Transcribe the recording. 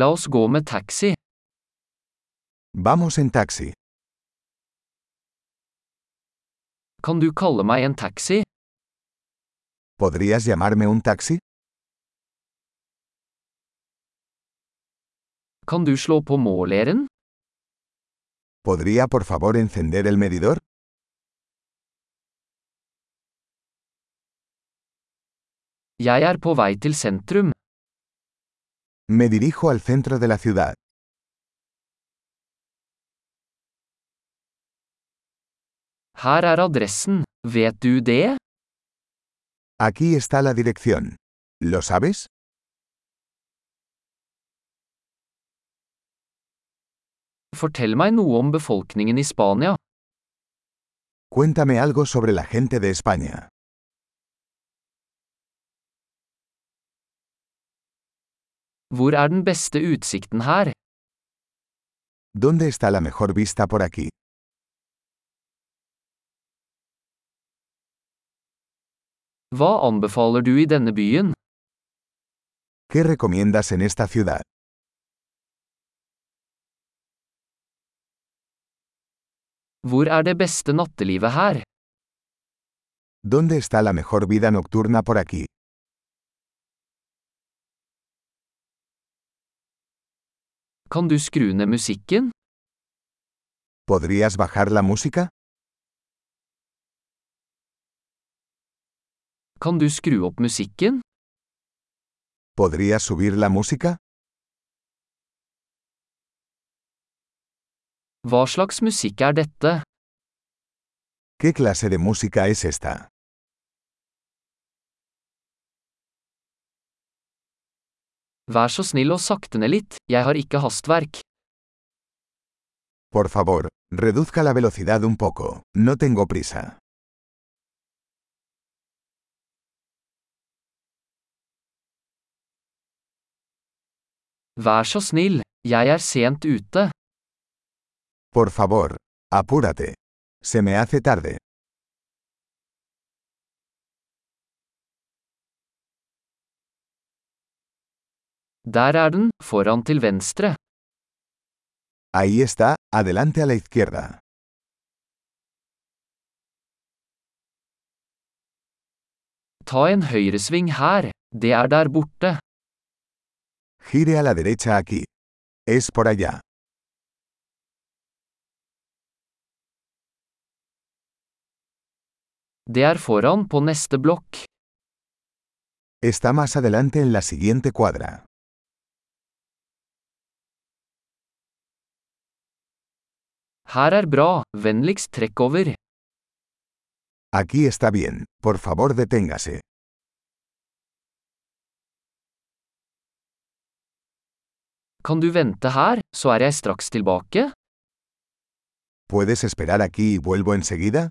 La oss gå med taxi. Vamos en taxi. Kan du kalle meg en taxi? ¿Podrías llamarme un taxi? Kan du slå på måleren? ¿Podría por favor encender el medidor? Jeg er på vei til sentrum. Me dirijo al centro de la ciudad. Her er adressen. Vet du det? Aquí está la dirección. ¿Lo sabes? Fortell meg noe om befolkningen i Spania. Cuéntame algo sobre la gente de España. Hvor er den beste utsikten her? ¿Dónde está la mejor vista por aquí? Hva anbefaler du i denne byen? ¿Qué recomiendas en esta ciudad? Hvor er det beste nattelivet her? ¿Dónde está la mejor vida nocturna por aquí? Kan du skru ned musikken? ¿Podrías bajar la música? Kan du skru opp musikken? ¿Podrías subir la música? Hva slags musikk er dette? ¿Qué clase de música es esta? Vær så snill og sakte ned litt, jeg har ikke hastverk. Por favor, reduzca la velocidad un poco. No tengo prisa. Vær så snill, jeg er sent ute. Por favor, apúrate. Se me hace tarde. Der er den, foran til venstre. Ahí está, adelante a la izquierda. Ta en høyresving her, det er der borte. Gire a la derecha aquí. Es por allá. Det er foran på neste blokk. Está más adelante en la siguiente cuadra. Her er bra, vennligst trekk over. Aquí está bien, por favor deténgase. Kan du vente her, så er jeg straks tilbake? ¿Puedes esperar aquí y vuelvo enseguida?